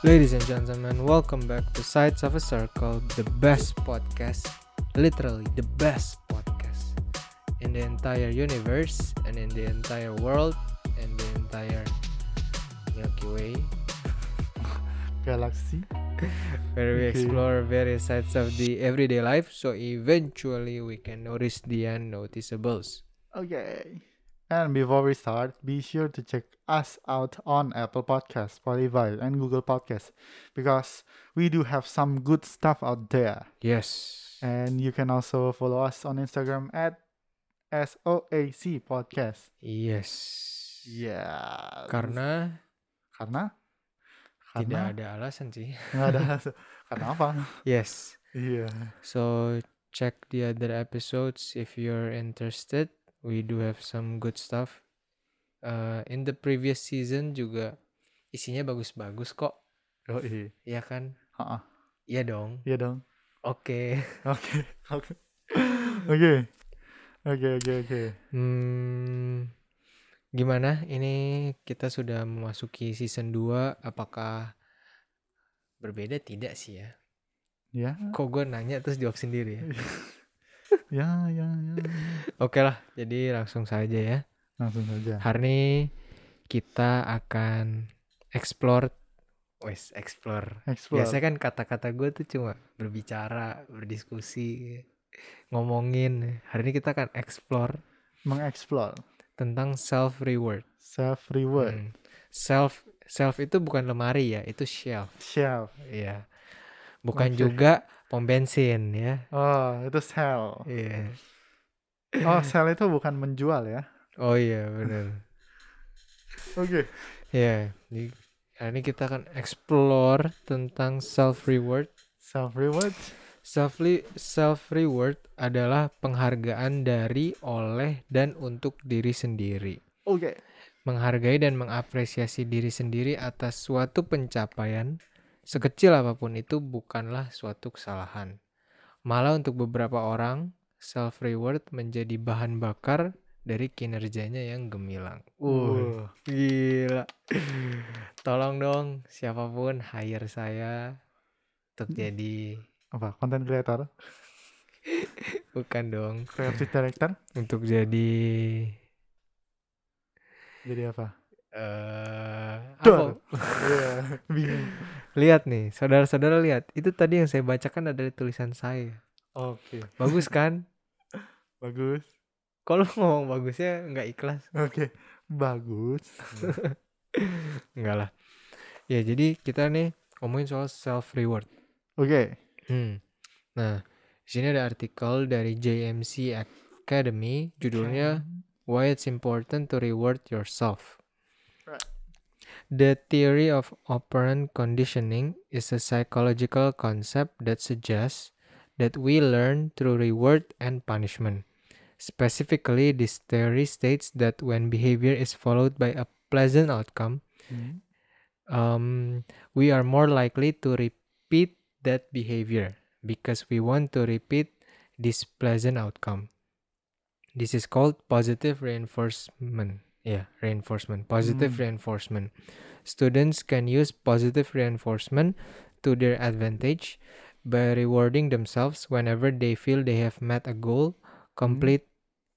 Ladies and gentlemen, welcome back to Sides of a Circle, the best podcast, literally the best podcast in the entire universe and in the entire world and the entire Milky Way, galaxy where we Okay. explore various sides of the everyday life so eventually we can notice the unnoticeables. okay and before we start be sure to check us out on apple Podcasts, spotify and google Podcasts because we do have some good stuff out there Yes. and you can also follow us on instagram at soac podcast Yes. Iya. yeah Karena karena tidak karena ada alasan sih. nggak ada karena apa Yes. iya So check the other episodes if you're interested. We do have some good stuff. Uh, in the previous season juga isinya bagus-bagus kok, oh iya ya kan? Ha-ha. Iya dong. iya dong Oke. oke oke oke oke oke oke Hmm, gimana? Ini kita sudah memasuki season 2, apakah berbeda tidak sih ya? ya Kok gue nanya terus jawab sendiri ya? ya ya ya Oke lah, jadi langsung saja ya. langsung saja Hari ini kita akan explore wes explore. explore Biasanya kan kata-kata gue tuh cuma berbicara, berdiskusi, ngomongin. Hari ini kita akan explore mengeksplor tentang self reward. self reward Hmm. Self self itu bukan lemari ya, itu shelf. self Iya. Bukan Oke. juga pom bensin ya. oh itu sell Iya. oh sell itu bukan menjual ya Oh iya benar. oke Iya. Jadi, Hari ini kita akan explore tentang self reward self reward Self self reward adalah penghargaan dari, oleh, dan untuk diri sendiri. oke Menghargai dan mengapresiasi diri sendiri atas suatu pencapaian, sekecil apapun itu bukanlah suatu kesalahan. Malah untuk beberapa orang, self reward menjadi bahan bakar dari kinerjanya yang gemilang. Uh, Wuh. gila. Tolong dong siapapun hire saya untuk jadi apa content creator bukan dong creative director untuk jadi jadi apa eh Dor. apa? Iya, bingung Lihat nih, saudara-saudara lihat. Itu tadi yang saya bacakan adalah tulisan saya. oke Bagus kan? bagus Kalau ngomong bagusnya nggak ikhlas. oke bagus Enggak lah. Ya, jadi kita nih ngomongin soal self reward. oke Hmm. Nah, di sini ada artikel dari JMC Academy Hmm. judulnya why it's important to reward yourself. Right. The theory of operant conditioning is a psychological concept that suggests that we learn through reward and punishment. Specifically, this theory states that when behavior is followed by a pleasant outcome, Hmm. um, we are more likely to repeat that behavior because we want to repeat this pleasant outcome. This is called positive reinforcement. Yeah, reinforcement, positive Mm. reinforcement. Students can use positive reinforcement to their advantage by rewarding themselves whenever they feel they have met a goal, complete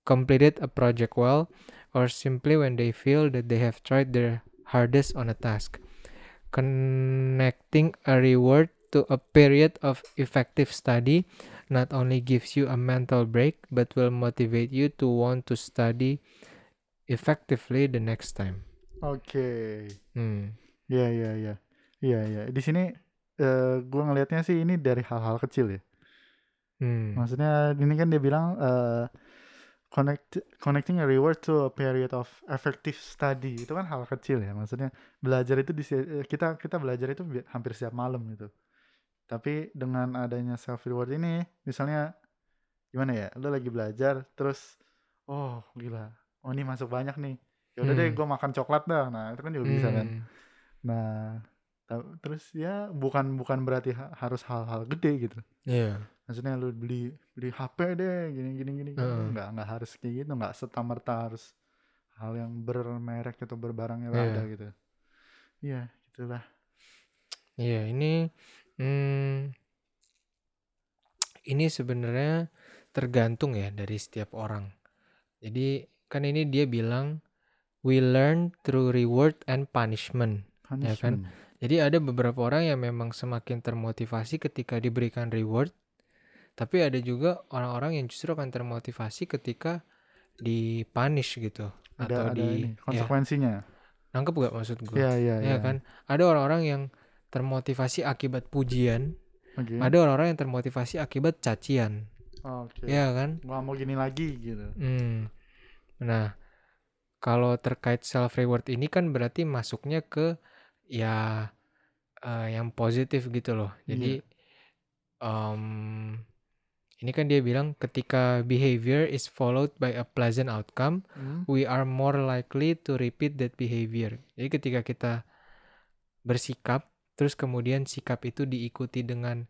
completed a project well, or simply when they feel that they have tried their hardest on a task. Connecting a reward to a period of effective study not only gives you a mental break but will motivate you to want to study effectively the next time. oke Hmm. Iya iya iya iya iya. Di sini eh gue ngelihatnya sih ini dari hal-hal kecil ya. Hmm. Maksudnya ini kan dia bilang eh connect connecting a reward to a period of effective study itu kan hal kecil ya. Maksudnya belajar itu di si- eh, kita kita belajar itu bi- hampir setiap malam gitu. Tapi dengan adanya self reward ini, misalnya gimana ya? Lu lagi belajar terus oh gila. Oh ini masuk banyak nih. Ya udah deh Hmm. gue makan coklat dah. Nah, itu kan juga bisa kan. Hmm. Nah, ta- terus ya bukan bukan berarti ha- harus hal-hal gede gitu. Iya. Maksudnya lu beli beli HP deh, gini gini gini, gini. Heeh. nggak nggak nggak harus kayak gitu nggak serta merta harus hal yang bermerek atau berbarangnya Iya. ada gitu iya gitulah Iya, ini mm, ini sebenarnya tergantung ya dari setiap orang. Jadi kan ini dia bilang we learn through reward and punishment. Ya kan? punishment Jadi ada beberapa orang yang memang semakin termotivasi ketika diberikan reward, tapi ada juga orang-orang yang justru akan termotivasi ketika dipunish gitu ada atau di ada ini ya, konsekuensinya nangkep gak maksud gue? iya iya ya iya kan ada orang-orang yang termotivasi akibat pujian oke ada orang-orang yang termotivasi akibat cacian oke ya kan Gua mau gini lagi gitu Hmm. nah kalau terkait self reward ini kan berarti masuknya ke ya eh, yang positif gitu loh jadi em, ini kan dia bilang ketika behavior is followed by a pleasant outcome Hmm, we are more likely to repeat that behavior. Jadi ketika kita bersikap, terus kemudian sikap itu diikuti dengan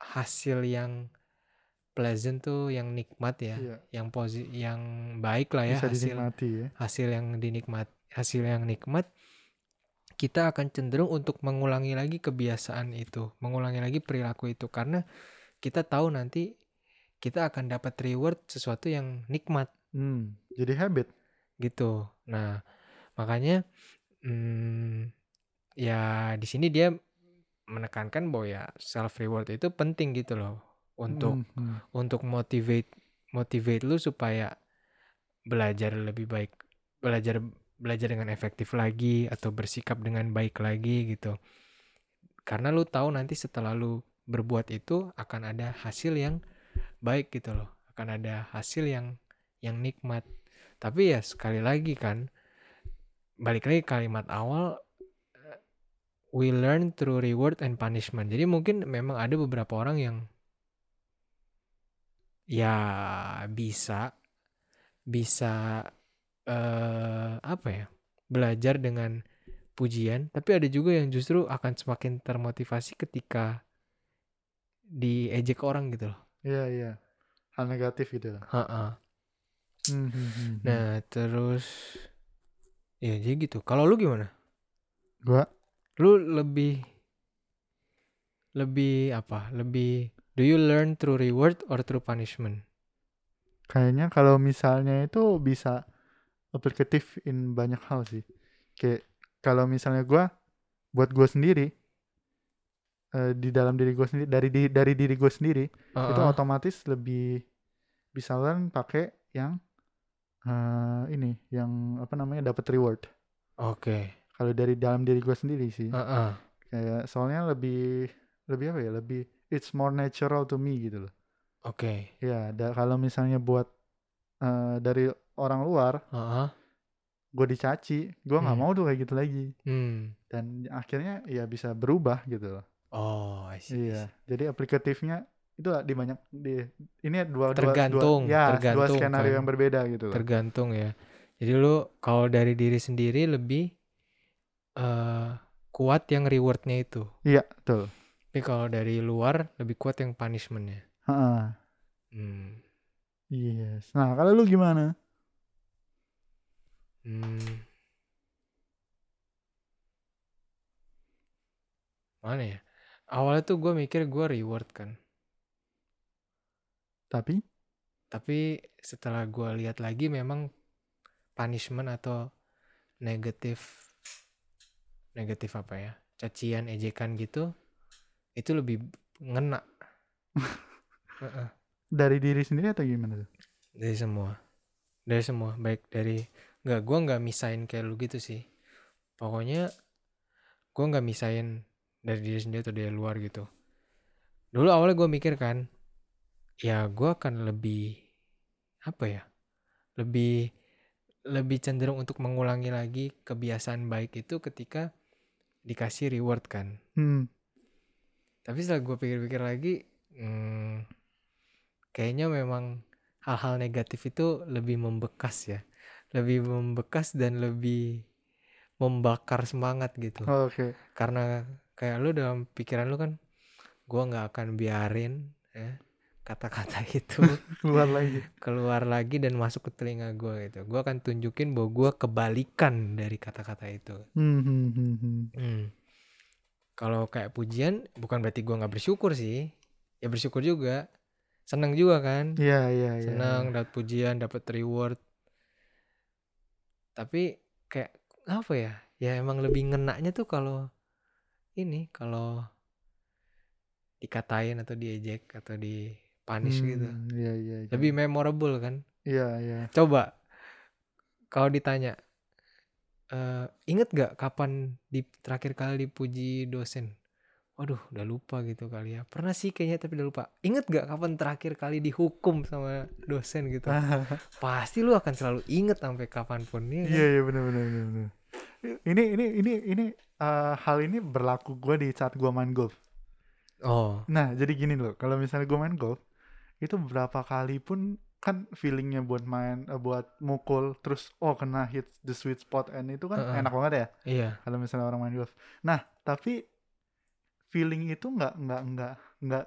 hasil yang pleasant tuh, yang nikmat ya, iya yang posi, yang baik lah ya bisa hasil dinikmati ya hasil yang dinikmat, hasil yang nikmat, kita akan cenderung untuk mengulangi lagi kebiasaan itu, mengulangi lagi perilaku itu karena kita tahu nanti kita akan dapat reward sesuatu yang nikmat hmm, jadi habit gitu. Nah, makanya mm, ya di sini dia menekankan bahwa ya self reward itu penting gitu loh untuk Hmm, hmm. untuk motivate motivate lu supaya belajar lebih baik, belajar belajar dengan efektif lagi atau bersikap dengan baik lagi gitu. Karena lu tahu nanti setelah lu berbuat itu akan ada hasil yang baik gitu loh. Akan ada hasil yang yang nikmat. Tapi ya sekali lagi kan balik lagi kalimat awal eh, we learn through reward and punishment. Jadi mungkin memang ada beberapa orang yang ya bisa bisa eh apa ya? belajar dengan pujian, tapi ada juga yang justru akan semakin termotivasi ketika diejek orang gitu loh. iya iya hal negatif gitu lah Heeh. Hmm, hmm, hmm, hmm. Nah, terus ya jadi gitu. Kalau lu gimana? gua lu lebih lebih apa lebih do you learn through reward or through punishment Kayaknya kalau misalnya itu bisa aplikatif in banyak hal sih. Kayak kalau misalnya gua buat gua sendiri eh, di dalam diri gua sendiri dari di, dari diri gua sendiri itu Heeh. otomatis lebih bisa learn pakai yang eh, ini yang apa namanya dapat reward. oke Kalau dari dalam diri gua sendiri sih. Heeh. Kayak soalnya lebih lebih apa ya? Lebih it's more natural to me gitu loh. oke Ya, da- kalau misalnya buat eh, dari orang luar, Heeh. gue dicaci, gue nggak Hmm. mau tuh kayak gitu lagi. hmm Dan akhirnya ya bisa berubah gitu loh. oh I see, I Iya. Jadi aplikatifnya itu di banyak di ini dua dua- Tergantung, dua, ya, dua tergantung skenario kan. yang berbeda gitu see. loh. tergantung ya jadi lu kalau dari diri sendiri lebih eh kuat yang rewardnya itu Iya, betul. tapi kalau dari luar lebih kuat yang punishmentnya Heeh. hmm. Yes. Nah, kalau lu gimana? hmm. mana ya awalnya tuh gue mikir gue reward kan Tapi tapi setelah gua lihat lagi memang punishment atau negatif negatif apa ya cacian ejekan gitu itu lebih ngena Heeh, dari diri sendiri atau gimana tuh? dari semua dari semua baik dari nggak gua nggak misain kayak lu gitu sih pokoknya gua nggak misain dari diri sendiri atau dari luar gitu dulu awalnya gua mikir kan ya gua akan lebih apa ya lebih lebih cenderung untuk mengulangi lagi kebiasaan baik itu ketika dikasih reward kan Hmm. tapi setelah gue pikir-pikir lagi hmm, kayaknya memang hal-hal negatif itu lebih membekas ya lebih membekas dan lebih membakar semangat gitu Oke. karena kayak lu dalam pikiran lu kan gua nggak akan biarin ya kata-kata itu keluar lagi keluar lagi dan masuk ke telinga gue gitu gue akan tunjukin bahwa gue kebalikan dari kata-kata itu Hmm, hmm, hmm, hmm. Hmm. kalau kayak pujian bukan berarti gue nggak bersyukur sih ya bersyukur juga seneng juga kan Iya, iya, iya. senang dapat pujian dapat reward tapi kayak apa ya ya emang lebih ngenaknya tuh kalau ini kalau dikatain atau diejek atau di punish Hmm, gitu Iya, iya, iya. lebih memorable kan Iya, iya. coba kalau ditanya eh inget gak kapan di terakhir kali dipuji dosen waduh udah lupa gitu kali ya pernah sih kayaknya tapi udah lupa inget gak kapan terakhir kali dihukum sama dosen gitu pasti lu akan selalu inget sampai kapanpun ya kan? Iya, iya, benar, benar, benar, benar. Ini, ini, ini, ini eh, hal ini berlaku gue di saat gue main golf. oh Nah, jadi gini loh, kalau misalnya gue main golf, itu berapa kali pun kan feelingnya buat main, eh, buat mukul, terus oh kena hit the sweet spot and itu kan Heeh. enak banget ya iya kalau misalnya orang main golf. Nah, tapi feeling itu nggak nggak nggak nggak nggak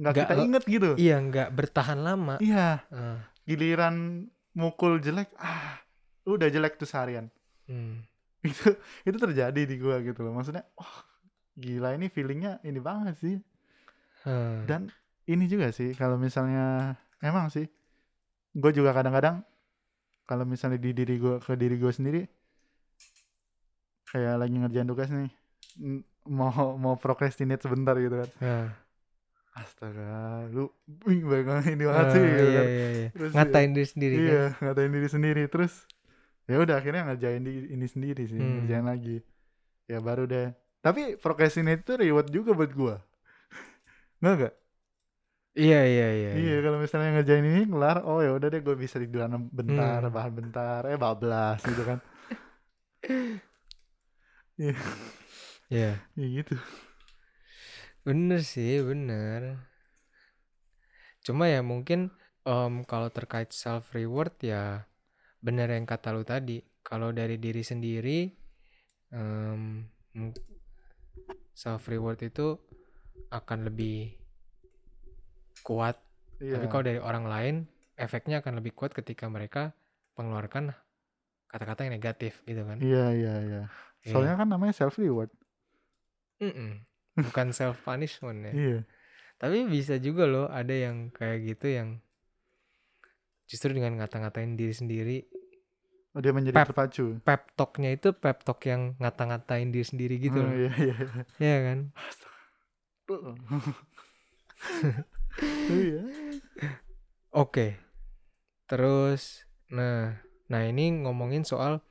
Nggak kita lo- inget gitu. iya nggak bertahan lama Iya, Ah, giliran mukul jelek, ah udah jelek tuh seharian. hmm. Itu itu terjadi di gua gitu loh. Maksudnya, wah gila ini feelingnya ini banget sih. Hmm. Dan ini juga sih kalau misalnya emang sih gue juga kadang-kadang kalau misalnya di diri gue ke diri gue sendiri kayak lagi ngerjain tugas nih m- mau mau procrastinate sebentar gitu kan Ah. astaga lu wih banget ini banget Ah, sih gitu iya, kan. iya, iya. Terus ya- ngatain diri sendiri iya kan? ngatain diri sendiri terus ya udah akhirnya ngerjain di, ini sendiri sih Hmm. ngerjain lagi ya baru deh tapi procrastinate itu reward juga buat gue nggak nggak iya iya iya Iya, kalau misalnya ngerjain ini kelar, oh ya udah deh gue bisa tiduran bentar, Hmm. bahan bentar, eh bablas gitu kan. Iya. Ya gitu. Bener sih, bener. Cuma ya mungkin em, kalau terkait self reward ya bener yang kata lu tadi. Kalau dari diri sendiri em, mung- self reward itu akan lebih kuat. Iya. Tapi kalau dari orang lain efeknya akan lebih kuat ketika mereka mengeluarkan kata-kata yang negatif gitu kan. Iya, iya, iya. Iya. Soalnya kan namanya self reward. Mm-mm. Bukan self punishment ya. Iya. Tapi bisa juga loh ada yang kayak gitu yang justru dengan ngata-ngatain diri sendiri. Oh, dia menjadi Pep. terpacu. Pep talknya itu pep talk yang ngata-ngatain diri sendiri gitu Oh, loh. iya, iya. Iya kan? iya. Oke. Terus nah, nah ini ngomongin soal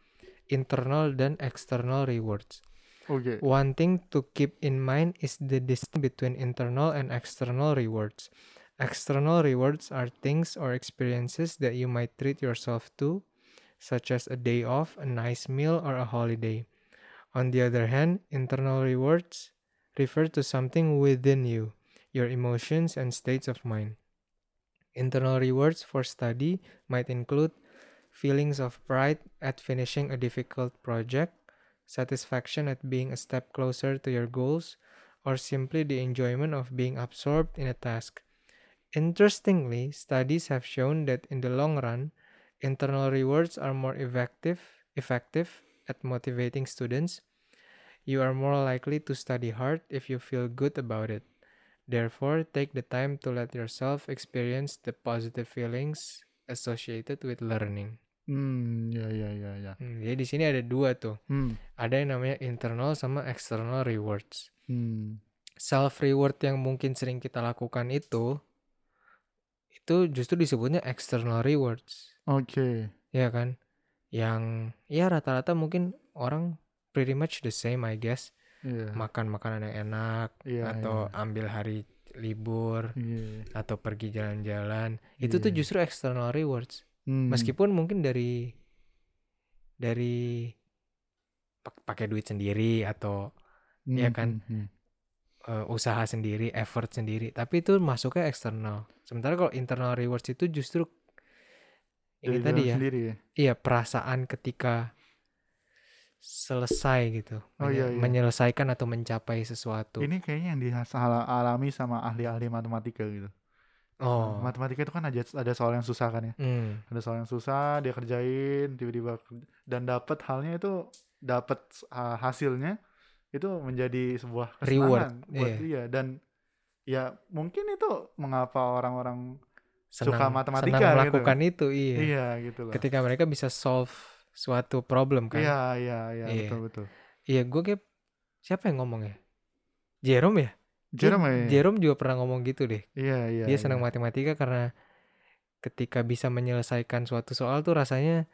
internal dan external rewards. Oke. One thing to keep in mind is the distinction between internal and external rewards. External rewards are things or experiences that you might treat yourself to, such as a day off, a nice meal, or a holiday. On the other hand, internal rewards refer to something within you, your emotions and states of mind. Internal rewards for study might include feelings of pride at finishing a difficult project, satisfaction at being a step closer to your goals, or simply the enjoyment of being absorbed in a task. Interestingly, studies have shown that in the long run, internal rewards are more effective, effective at motivating students. You are more likely to study hard if you feel good about it. Therefore, take the time to let yourself experience the positive feelings associated with learning. Hmm, iya, iya, iya, iya. Hmm, jadi di sini ada dua tuh Hmm. ada yang namanya internal sama external rewards. Hmm. Self reward yang mungkin sering kita lakukan itu itu justru disebutnya external rewards, Oke. ya kan? Yang ya rata-rata mungkin orang pretty much the same I guess. Iya. Makan makanan yang enak Iya, atau ambil hari libur Iya. atau pergi jalan-jalan. Itu tuh Iya. justru external rewards. Hmm. Meskipun mungkin dari dari pak- pakai duit sendiri atau Hmm, ya kan? hmm, hmm. eh, usaha sendiri, effort sendiri, tapi itu masuknya eksternal. Sementara kalau internal rewards itu justru ini tadi Dari dalam ya, Sendiri ya. iya perasaan ketika selesai gitu, Oh, iya, iya. menyelesaikan atau mencapai sesuatu. Ini kayaknya yang dialami sama ahli-ahli matematika gitu. Oh. matematika itu kan ada ada soal yang susah kan ya Hmm. ada soal yang susah dia kerjain tiba-tiba ke- dan dapat halnya itu dapat uh, hasilnya itu menjadi sebuah Reward, kesenangan buat iya. dia dan ya mungkin itu mengapa orang-orang Senang, Suka matematika senang gitu. melakukan itu, iya. iya gitu loh Ketika mereka bisa solve suatu problem kan. iya iya iya Iya. betul betul Iya, gue kayak siapa yang ngomong ya? Jerome ya? Jerome ya? Jerome juga pernah ngomong gitu deh. iya iya Dia iya. senang matematika karena ketika bisa menyelesaikan suatu soal tuh rasanya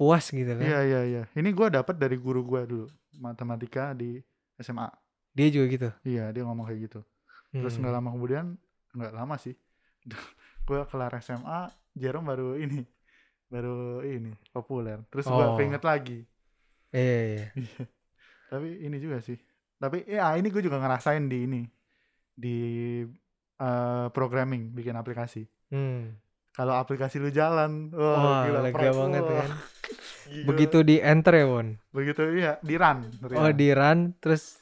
puas gitu kan. Iya iya iya. Ini gua dapat dari guru gua dulu matematika di SMA. Dia juga gitu. Iya dia ngomong kayak gitu. Terus Hmm. nggak lama kemudian nggak lama sih. gua kelar SMA, Jerome baru ini baru ini populer. Terus gua Oh. keinget lagi. Iya, iya. Tapi ini juga sih. Tapi ya ini gue juga ngerasain di ini di eh, programming bikin aplikasi. Hmm. Kalau aplikasi lu jalan, Wah, wah, gila, lega proud. banget Wah, kan. gila. Begitu di enter ya, Won. begitu iya di run. Oh, di run terus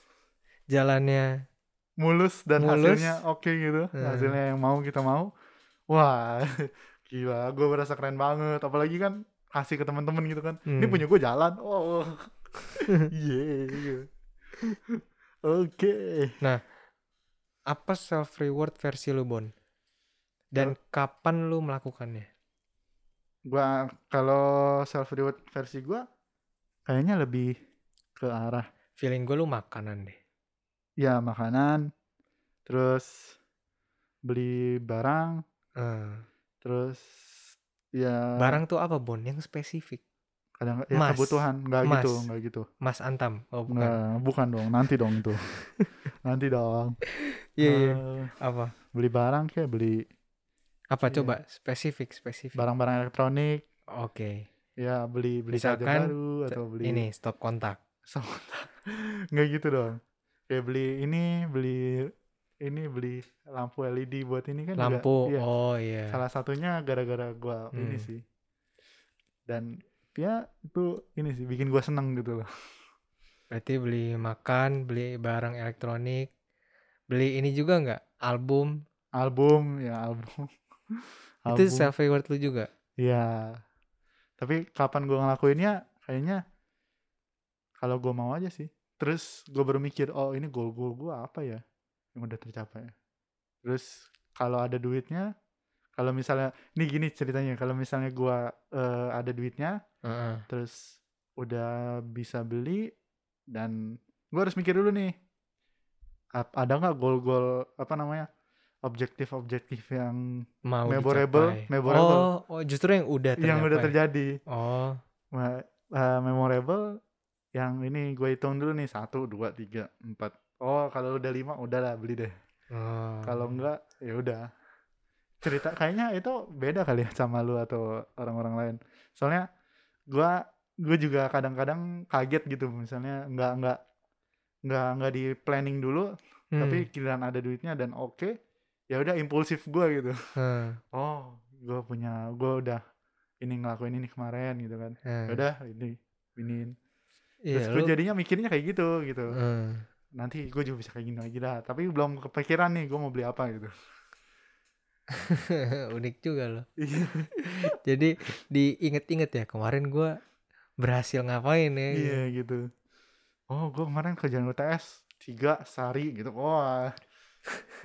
jalannya mulus dan Mulus. hasilnya oke gitu Hmm. hasilnya yang mau kita mau wah gila gue berasa keren banget apalagi kan kasih ke teman-teman gitu kan ini Hmm. punya gue jalan oh yeah gitu. oke apa self reward versi lu, Bon? Dan kapan lu melakukannya? gua kalau self reward versi gua kayaknya lebih ke arah Feeling gue lu makanan deh. ya makanan terus beli barang Ah. Hmm. terus ya Barang tuh apa, Bon? Yang spesifik. kadang ya emas. kebutuhan nggak Emas. gitu nggak gitu Mas Antam. Oh, bukan. Nggak, Nah, bukan dong, nanti dong itu. nanti dong. Iya, iya. Eh, Apa? beli barang kayak beli Apa Iya. coba? Spesifik, spesifik. barang-barang elektronik, Oke. ya beli beli charger Misalkan, baru atau beli Ini stop kontak. nggak gitu dong. Kayak beli ini, beli ini beli lampu LED buat ini kan juga- Lampu. iya. Oh, iya. Salah satunya gara-gara gua ini Hmm. sih. Dan ya itu ini sih bikin gua seneng gitu loh. Berarti beli makan, beli barang elektronik, beli ini juga nggak? Album. Album ya album. Itu self reward lu juga. Iya. Tapi kapan gue ngelakuinnya kayaknya kalau gue mau aja sih. Terus gue baru mikir, oh ini goal-goal gue apa ya yang udah tercapai. Terus kalau ada duitnya, kalau misalnya, nih gini ceritanya, kalau misalnya gue ada duitnya, Heeh. terus udah bisa beli, dan gue harus mikir dulu nih, ap- ada nggak goal-goal, apa namanya, objektif-objektif yang Mau Memorable, dicapai. memorable. Oh, oh, justru yang udah yang udah tercapai. terjadi. Oh, Ma- eh, memorable yang ini gue hitung dulu nih satu dua tiga empat oh kalau udah lima udahlah beli deh oh. kalau enggak ya udah cerita kayaknya itu beda kali ya sama lu atau orang-orang lain soalnya gue gue juga kadang-kadang kaget gitu misalnya nggak nggak nggak nggak di planning dulu Hmm, tapi kiraan ada duitnya dan oke ya udah impulsif gue gitu hmm, oh gue punya gue udah ini ngelakuin ini kemarin gitu kan hmm. ya udah ini iniin Iya, terus gue lu- jadinya mikirnya kayak gitu gitu hmm. nanti gue juga bisa kayak gini lagi dah tapi belum kepikiran nih gue mau beli apa gitu Unik juga loh. Iya. Jadi diinget-inget ya kemarin gua berhasil ngapain ya. gitu. iya gitu oh gue kemarin kerjaan UTS tiga sehari gitu wah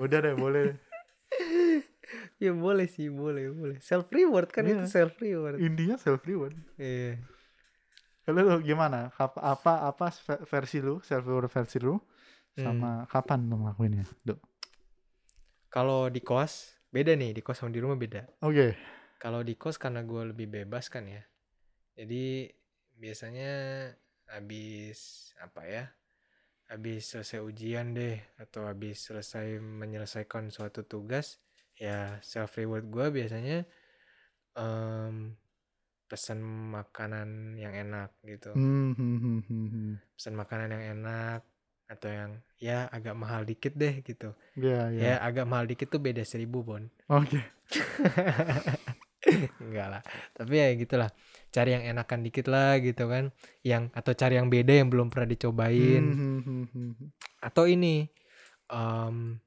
udah deh boleh Ya boleh sih, boleh, boleh. Self reward kan Iya. itu self reward. intinya self reward Iya. kalau lu gimana apa apa apa ve- versi lu self reward versi lu Hmm. sama kapan lu ngelakuinnya Dok? Kalau di kos beda nih, di kos sama di rumah beda. oke kalau di kos karena gue lebih bebas kan ya jadi biasanya habis apa ya habis selesai ujian deh atau habis selesai menyelesaikan suatu tugas ya self reward gue biasanya em, pesan makanan yang enak gitu Hmm, hmm, hmm, hmm, hmm. pesan makanan yang enak atau yang ya agak mahal dikit deh gitu Iya, iya. ya agak mahal dikit tuh beda seribu bon Oke. Enggak lah. Tapi ya gitulah. Cari yang enakan dikit lah gitu kan. Yang atau cari yang beda yang belum pernah Hmm, dicobain. hmm, hmm, hmm, hmm. Atau ini. em,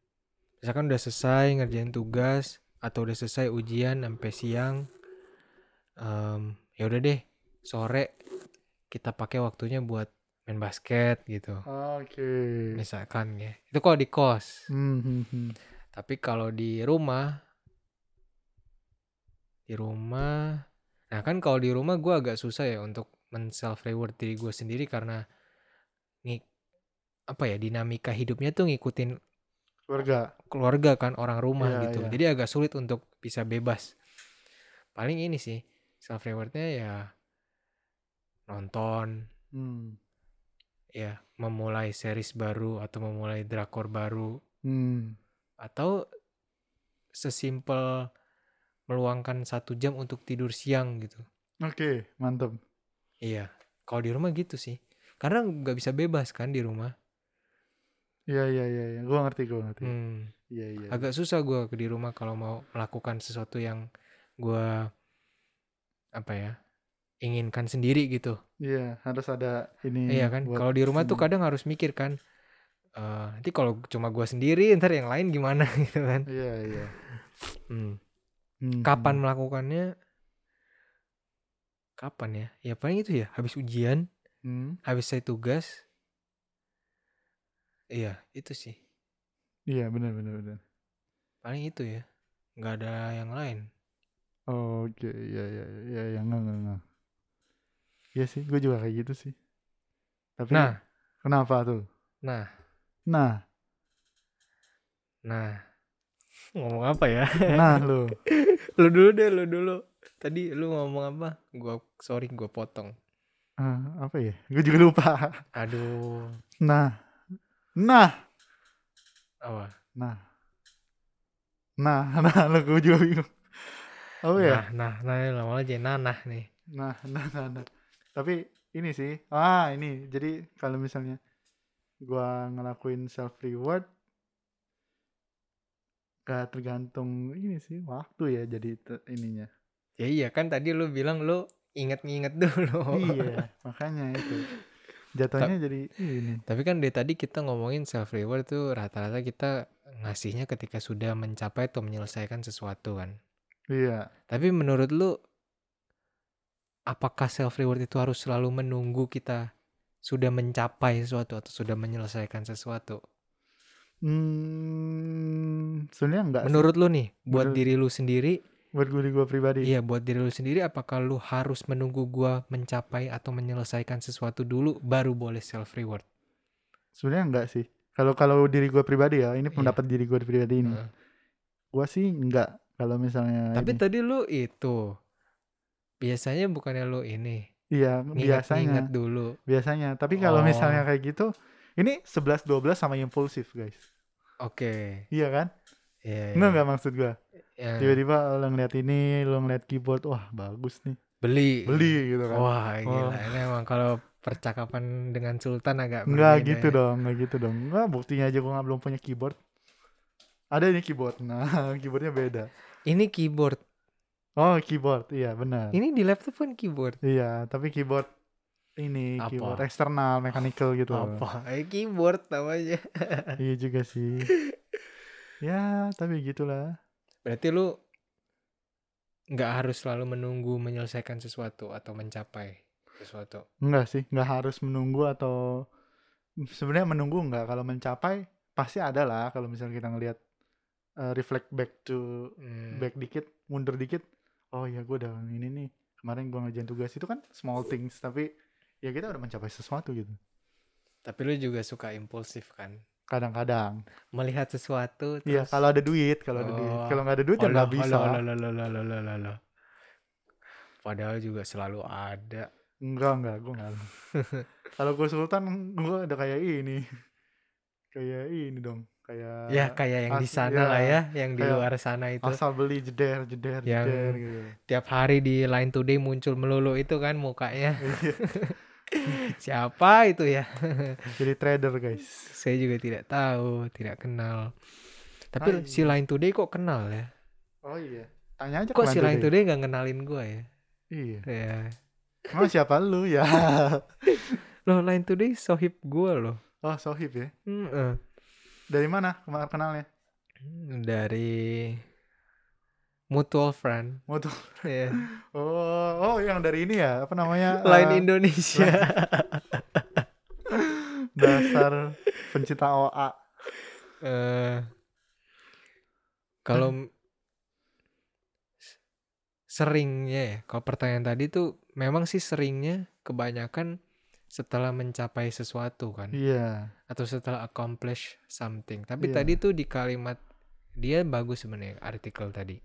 misalkan udah selesai ngerjain tugas, atau udah selesai ujian sampai siang em, ya udah deh sore kita pakai waktunya buat main basket gitu Oke. misalkan ya itu kalau di kos Hmm, hmm, hmm. tapi kalau di rumah di rumah nah kan kalau di rumah gue agak susah ya untuk men self reward diri gue sendiri karena nih apa ya dinamika hidupnya tuh ngikutin Keluarga. keluarga kan orang rumah Iya, gitu iya. jadi agak sulit untuk bisa bebas paling ini sih self rewardnya ya nonton Hmm. ya memulai series baru atau memulai drakor baru Hmm. atau sesimpel meluangkan satu jam untuk tidur siang gitu Oke, mantap. iya kalau di rumah gitu sih karena nggak bisa bebas kan di rumah Iya, iya, iya, iya. Gua ngerti, gua ngerti. Hmm. Iya, iya. iya. agak susah gue di rumah kalau mau melakukan sesuatu yang gue apa ya inginkan sendiri gitu Iya, harus ada ini. iya kan Hmm, buat- kalau di rumah tuh hmm. kadang harus mikir kan eh, nanti kalau cuma gue sendiri ntar yang lain gimana gitu kan Iya, iya. Hmm. Hmm, kapan hmm. melakukannya kapan ya ya paling itu ya habis ujian Hmm. habis saya tugas iya itu sih Iya, benar benar benar. paling itu ya nggak ada yang lain Oke, iya, iya, iya, iya, enggak, enggak, enggak. Iya sih, gua juga kayak gitu sih. Tapi nah kenapa tuh? nah Nah, nah ngomong apa ya nah lo. lu dulu deh lu dulu tadi lu ngomong apa gua sorry gua potong Ah, apa ya? Gue juga lupa. aduh Nah, nah, apa nah, nah, nah, lo gue juga bingung. Apa ya? nah nah nah lama aja nanah nih Nah, nah, nah, nah. Tapi ini sih, ah ini. Jadi kalau misalnya gua ngelakuin self reward, gak tergantung ini sih waktu ya. Jadi te- ininya. ya iya kan tadi lu bilang lu inget-inget dulu Iya, makanya itu. Jatuhnya jadi ini. Tapi kan dari tadi kita ngomongin self reward tuh rata-rata kita ngasihnya ketika sudah mencapai atau menyelesaikan sesuatu kan. Iya. Tapi menurut lu apakah self reward itu harus selalu menunggu kita sudah mencapai sesuatu atau sudah menyelesaikan sesuatu? Hmm, sebenarnya enggak sih. Menurut lu nih, buat Menurut- diri lu sendiri, buat gue gue pribadi. iya buat diri lu sendiri apakah lu harus menunggu gua mencapai atau menyelesaikan sesuatu dulu baru boleh self reward? sebenarnya enggak sih kalau kalau diri gue pribadi ya ini Iya. pendapat diri gue pribadi ini Heeh. gue sih enggak kalau misalnya Tapi ini. tadi lu itu biasanya bukannya lu ini iya biasanya Nginget-nginget dulu. biasanya tapi Oh. kalau misalnya kayak gitu ini 11 12 sama impulsif guys Oke. iya kan Iya. enggak enggak maksud iya. gue Ya, tiba-tiba lo ngeliat ini lo ngeliat keyboard wah bagus nih Beli. beli gitu kan Wah, gila. Ini emang kalau percakapan dengan Sultan agak enggak berbeda gitu ya. dong enggak gitu dong enggak buktinya aja gue belum punya keyboard ada ini keyboard nah keyboardnya beda Ini keyboard. oh keyboard iya benar Ini di laptop kan keyboard. Iya, tapi keyboard ini Apa? keyboard eksternal mechanical gitu. Apa? Eh, keyboard namanya. Iya juga sih. ya, tapi gitulah. Berarti lu nggak harus selalu menunggu menyelesaikan sesuatu atau mencapai sesuatu. Enggak sih, enggak harus menunggu atau sebenarnya menunggu enggak kalau mencapai pasti ada lah kalau misalnya kita ngelihat eh, reflect back to Hmm. back dikit, mundur dikit. Oh iya, gue udah ini nih. Kemarin gue ngerjain tugas itu kan small Hmm. things, tapi ya kita udah mencapai sesuatu gitu. Tapi lu juga suka impulsif kan? Kadang-kadang. Melihat sesuatu Iya, terus kalau ada duit, kalau ada duit. Oh. Kalau nggak ada duit ya Alah, nggak bisa. alah, alah, alah, alah, alah, alah, alah. Padahal juga selalu ada. Enggak, enggak, gue enggak. Kalau gue Sultan, gue ada kayak ini. Kayak ini dong, kayak Ya kayak yang di as- sana ya, lah ya, yang di kayak luar sana itu. Asal beli jeder, jeder, Gitu. Yang- jeder gitu. Tiap hari di Line Today muncul melulu itu kan mukanya. Iya, Siapa itu ya? Jadi trader, guys. Saya juga tidak tahu, tidak kenal. Tapi Hai. si Line Today kok kenal ya? Oh iya. Tanya aja Kok kemana si Line deh. Today nggak kenalin gua ya? Iya. Ya. Emang siapa lu ya? Loh Line Today sohib gua loh. Oh, Sohib ya. Mm-mm. Dari mana kemar kenalnya? Dari mutual friend. Mutu- Iya. oh oh yang dari ini ya apa namanya Lain eh, Indonesia. dasar pencinta OA eh kalau m- s- seringnya ya, kalau pertanyaan tadi tuh memang sih seringnya kebanyakan setelah mencapai sesuatu kan iya atau setelah accomplish something. Tapi Iya. tadi tuh di kalimat dia bagus sebenarnya artikel tadi.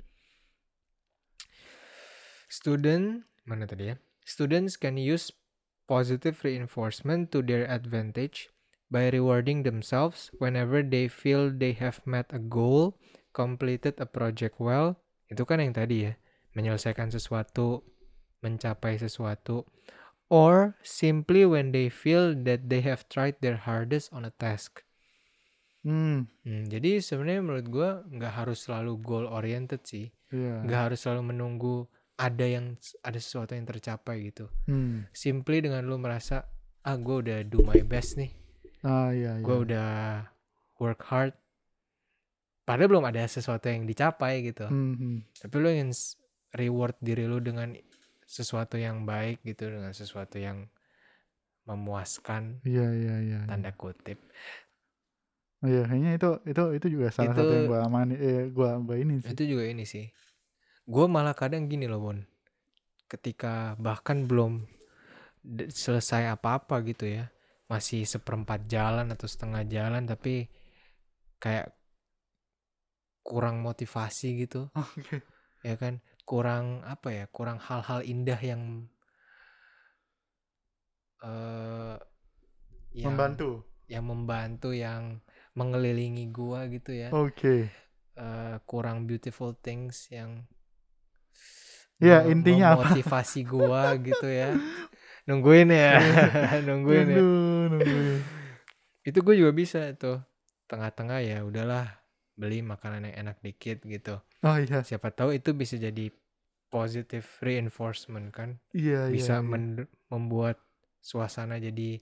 Student mana tadi ya? Students can use positive reinforcement to their advantage by rewarding themselves whenever they feel they have met a goal, completed a project well. Itu kan yang tadi ya, menyelesaikan sesuatu, mencapai sesuatu or simply when they feel that they have tried their hardest on a task. hmm Hmm, jadi sebenarnya menurut gua nggak harus selalu goal oriented sih, iya nggak harus selalu menunggu ada yang ada sesuatu yang tercapai gitu. hmm Simply dengan lu merasa ah gua udah do my best nih, ah iya iya gua udah work hard. Padahal belum ada sesuatu yang dicapai gitu. Hmm, hmm. Tapi lu ingin s- reward diri lu dengan sesuatu yang baik gitu, dengan sesuatu yang memuaskan iya iya iya tanda kutip. iya kayaknya itu itu itu juga salah satu Itu- yang gua amani eh gua gua ini sih Iya. Itu juga ini sih. Gue malah kadang gini loh Bon. Ketika bahkan belum d- selesai apa-apa gitu ya. Masih seperempat jalan atau setengah jalan tapi kayak kurang motivasi gitu oke ya kan kurang apa ya kurang hal-hal indah yang eh yang membantu yang membantu yang mengelilingi gua gitu ya oke eh, kurang beautiful things yang Iya, me- intinya apa? memotivasi gua gitu ya nungguin ya nungguin ya Aduh, nungguin. itu gue juga bisa tuh tengah-tengah ya udahlah beli makanan yang enak dikit gitu oh iya siapa tahu itu bisa jadi positive reinforcement kan iya iya bisa iya. men- membuat suasana jadi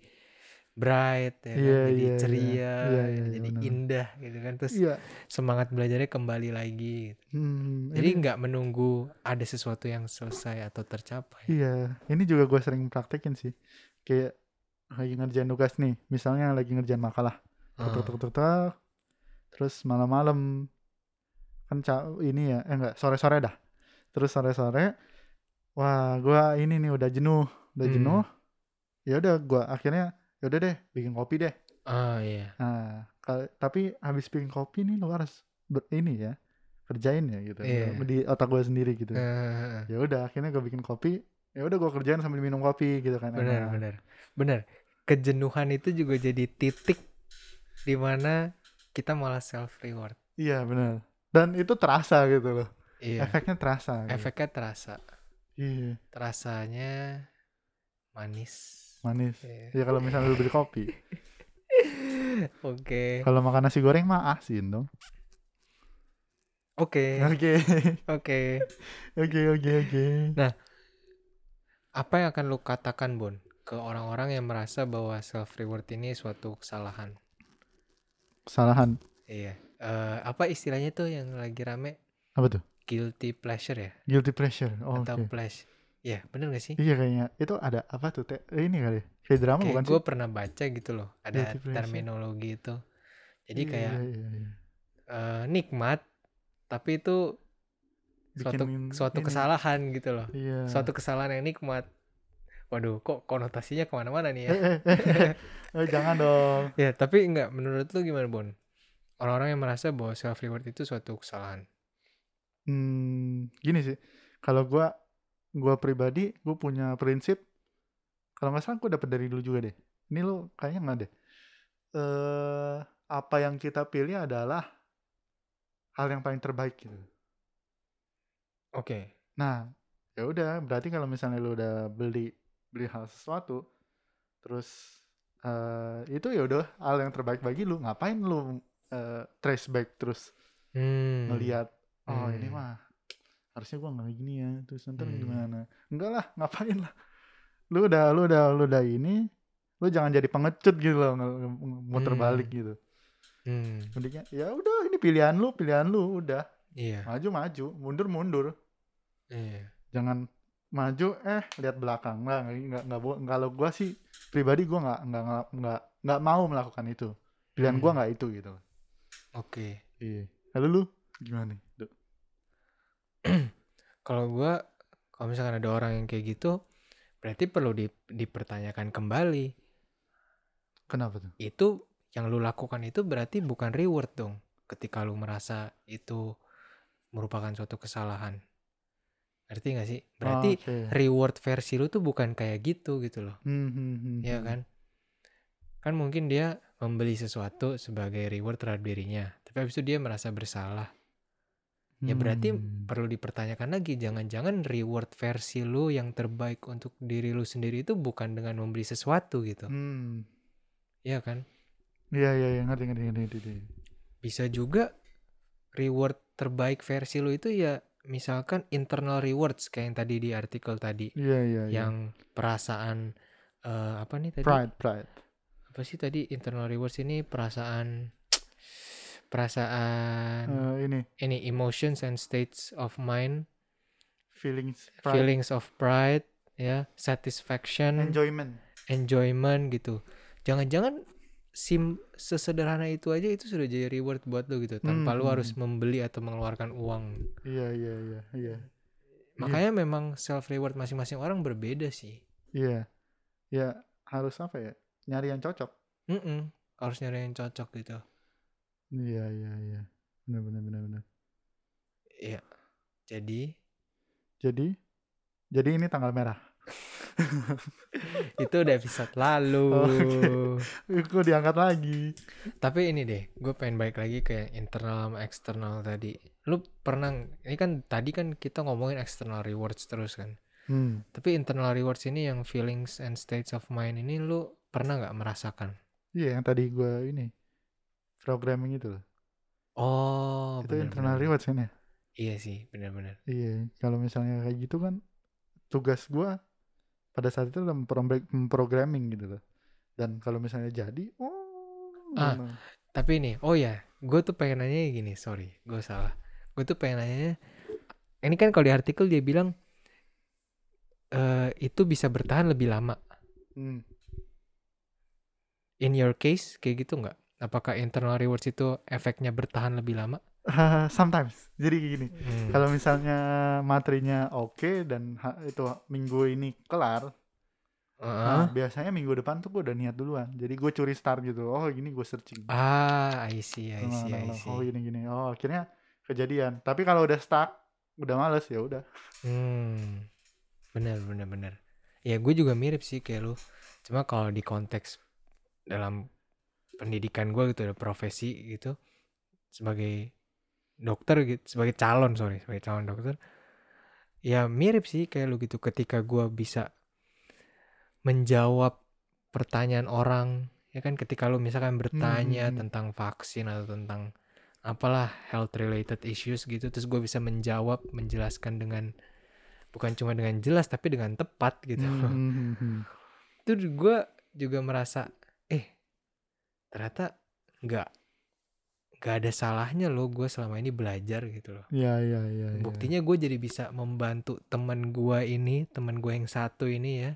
bright ya kan? jadi Iya, iya, iya. ceria Iya, ya, iya, jadi benar. indah gitu kan terus iya semangat belajarnya kembali lagi gitu. hmm, Jadi ini- nggak menunggu ada sesuatu yang selesai atau tercapai. Iya, ini juga gue sering praktekin sih. Kayak lagi ngerjain tugas nih, misalnya lagi ngerjain makalah, tuk tuk Ah, tuk tuk, tuk. terus malam-malam kan ca- ini ya, eh enggak sore-sore dah. Terus sore-sore, wah gua ini nih udah jenuh, udah Hmm. jenuh. Ya udah, gua akhirnya ya udah deh bikin kopi deh. ah iya. Nah, kal- tapi habis bikin kopi nih lo harus ber- ini ya kerjain ya gitu Iya. di otak gue sendiri gitu Eh, ya udah akhirnya gue bikin kopi ya udah gue kerjain sambil minum kopi gitu kan benar enak. benar benar. Kejenuhan itu juga jadi titik di mana kita malah self reward. iya benar dan itu terasa gitu loh Iya. efeknya terasa gitu. Efeknya terasa. iya Terasanya manis. manis Iya. ya kalau misalnya lu beli kopi Oke. kalau makan nasi goreng mah asin dong Oke. oke Oke. oke oke oke Apa yang akan lu katakan, Bon, ke orang-orang yang merasa bahwa self reward ini suatu kesalahan? kesalahan Iya. Eh, apa istilahnya tuh yang lagi rame? apa tuh Guilty pleasure ya? guilty pleasure oh, Atau oke pleasure? Ya, bener gak sih? iya kayaknya itu ada apa tuh Teh? Eh, ini kali kayak drama bukan Kayak sih gue pernah baca gitu loh. Ada Guilty pleasure. terminologi itu. Jadi Iya, kayak iya, iya. eh, nikmat, tapi itu suatu Bikin suatu ini. kesalahan gitu loh. iya Suatu kesalahan yang nikmat. Waduh, kok konotasinya kemana-mana nih ya? eh, eh, eh, eh. Eh, jangan dong Ya, tapi enggak. Menurut lu gimana, Bon? Orang-orang yang merasa bahwa self reward itu suatu kesalahan. Hmm, gini sih, kalau gua gua pribadi, gue punya prinsip. Kalau nggak salah, gue dapet dari dulu juga deh. Ini lo kayaknya nggak deh. Eh, apa yang kita pilih adalah hal yang paling terbaik gitu. Oke. Nah, ya udah. Berarti kalau misalnya lu udah beli beli hal sesuatu, terus eh, itu ya udah hal yang terbaik bagi lu. Ngapain lu eh, trace back terus Hmm. ngelihat oh ini Hmm. mah harusnya gua nggak gini ya terus ntar Hmm. gimana enggak lah ngapain lah lu udah lu udah lu udah ini lu jangan jadi pengecut gitu loh nge- nge- muter Hmm. balik gitu Hmm. mendingnya ya udah ini pilihan lu pilihan lu udah Iya. maju maju mundur mundur Iya. jangan maju eh lihat belakang nggak nggak nggak- nggak bo- kalau gue sih pribadi gue nggak nggak nggak nggak nggak mau melakukan itu pilihan Hmm. gua gue nggak itu gitu Oke. iya lalu lu gimana nih Du? Kalau gua kalau misalkan ada orang yang kayak gitu, berarti perlu di- dipertanyakan kembali. kenapa tuh Itu yang lu lakukan itu berarti bukan reward dong. Ketika lu merasa itu merupakan suatu kesalahan. Ngerti gak sih? Berarti Oh, Oke. reward versi lu tuh bukan kayak gitu gitu loh. Hmm, hmm, hmm, Iya hmm. kan? Kan mungkin dia membeli sesuatu sebagai reward terhadap dirinya. Tapi habis itu dia merasa bersalah. Ya berarti Hmm. perlu dipertanyakan lagi. Jangan-jangan reward versi lu yang terbaik untuk diri lu sendiri itu bukan dengan membeli sesuatu gitu. hmm Iya kan? iya iya iya ngerti ngerti ngerti, ngerti, ngerti. Bisa juga reward terbaik versi lu itu ya misalkan internal rewards kayak yang tadi di artikel tadi. iya iya iya. Yang perasaan eh, apa nih tadi? pride pride apa sih tadi internal rewards ini perasaan perasaan Eh, ini ini emotions and states of mind feelings pride feelings of pride ya satisfaction enjoyment enjoyment gitu jangan-jangan sim sesederhana itu aja itu sudah jadi reward buat lo gitu tanpa lo Hmm. harus membeli atau mengeluarkan uang iya iya iya iya makanya memang self reward masing-masing orang berbeda sih iya ya harus apa ya nyari yang cocok Mm-mm. harus nyari yang cocok gitu iya iya iya benar benar benar benar ya jadi jadi jadi ini tanggal merah itu udah episode lalu Oh, Kok diangkat lagi Tapi ini deh, gue pengen balik lagi ke yang internal sama eksternal tadi. Lu pernah, ini kan tadi kan kita ngomongin external rewards terus kan. hmm. Tapi internal rewards ini yang feelings and states of mind ini lu pernah nggak merasakan? iya yang tadi gua ini programming itu loh Oh, itu bener, internal bener. rewards kan ya Iya sih, benar-benar. Iya, kalau misalnya kayak gitu kan tugas gua pada saat itu udah memprom- memprogramming gitu loh. Dan kalau misalnya jadi, oh, Ah. gimana? Tapi ini, oh ya, gue tuh pengen nanya gini, sorry, gue salah. Gue tuh pengen nanya, ini kan kalau di artikel dia bilang eh itu bisa bertahan lebih lama. Hmm. in your case kayak gitu nggak? Apakah internal rewards itu efeknya bertahan lebih lama? Ah, sometimes. Jadi kayak gini, Hmm. kalau misalnya materinya oke dan ha- itu minggu ini kelar, Uh-uh. nah, biasanya minggu depan tuh gua udah niat duluan. Jadi gue curi start gitu. Oh, gini gue searching. Ah, I see, I Nah, see, nah, I nah. see. Oh, gini gini. Oh, akhirnya kejadian. Tapi kalau udah stuck, udah males ya udah. Hmm. Bener, bener, bener. Ya gue juga mirip sih kayak lu. Cuma kalau di konteks dalam pendidikan gue gitu, ada profesi gitu, sebagai dokter gitu, sebagai calon sorry, sebagai calon dokter, ya mirip sih kayak lu gitu. Ketika gue bisa menjawab pertanyaan orang, ya kan ketika lu misalkan bertanya hmm. tentang vaksin atau tentang apalah health related issues gitu, terus gue bisa menjawab, menjelaskan dengan bukan cuma dengan jelas tapi dengan tepat gitu. Hmm, hmm, hmm. Itu gue juga merasa eh ternyata nggak nggak ada salahnya loh gue selama ini belajar gitu loh. Iya, iya, iya. iya. Buktinya gue jadi bisa membantu temen gue ini, temen gue yang satu ini ya,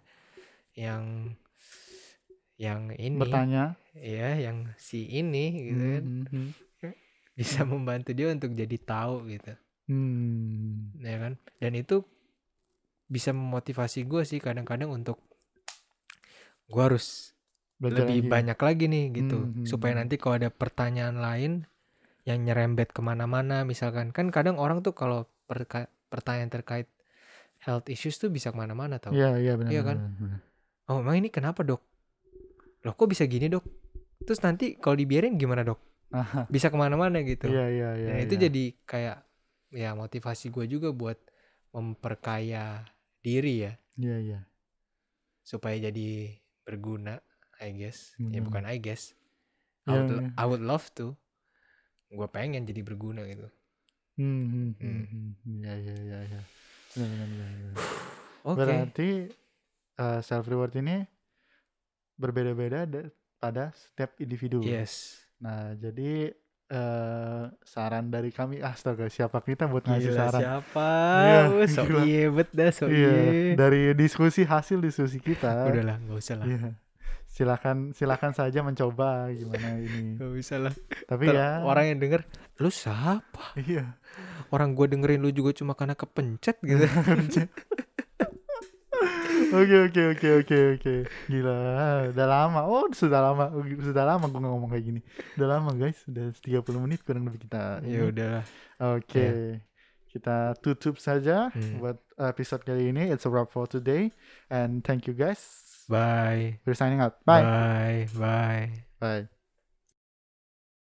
yang yang ini, bertanya ya, yang si ini gitu kan, Hmm, hmm, bisa membantu dia untuk jadi tahu gitu. hmm. ya kan dan itu bisa memotivasi gue sih kadang-kadang untuk gue harus Belajar lebih lagi. ya? banyak lagi nih gitu Mhm. supaya nanti kalau ada pertanyaan lain yang nyerembet kemana-mana misalkan kan kadang orang tuh kalau perka- pertanyaan terkait health issues tuh bisa kemana-mana tau Iya, iya benar. Iya benar, kan? benar, benar. oh emang ini kenapa dok loh kok bisa gini dok terus nanti kalau dibiarin gimana dok Aha, bisa kemana-mana gitu Iya, iya, iya. Dan itu iya. jadi kayak ya motivasi gue juga buat memperkaya diri ya Iya, iya. supaya jadi berguna I guess ya Benar. bukan I guess I Iya, would, iya. I would love to gue pengen jadi berguna gitu Hmm, hmm, Hmm. hmm, hmm. Iya, iya, iya, iya. Benar, benar, benar, benar. oke Berarti self reward ini berbeda-beda da- pada setiap individu. yes Nah, jadi eh saran dari kami astaga siapa kita buat ngasih Gila saran siapa? Iya, Wah, so gila. iye bet dah so Iya, iye. dari diskusi hasil diskusi kita. Udahlah, nggak usah lah. Iya. Silakan silakan saja mencoba gimana ini. Nggak usah lah. Tapi Ntar ya Orang yang denger, lu siapa? iya. Orang gua dengerin lu juga cuma karena kepencet gitu. Iya. Oke oke oke oke oke. Gila, udah lama. Oh, sudah lama. Sudah lama gue ngomong kayak gini. Udah lama, guys. Udah 30 menit kurang lebih kita. ini. ya udahlah. Oke. Kita tutup saja Iya. Hmm. buat episode kali ini. It's a wrap for today and thank you guys. Bye. We're signing out. Bye. Bye. Bye. Bye.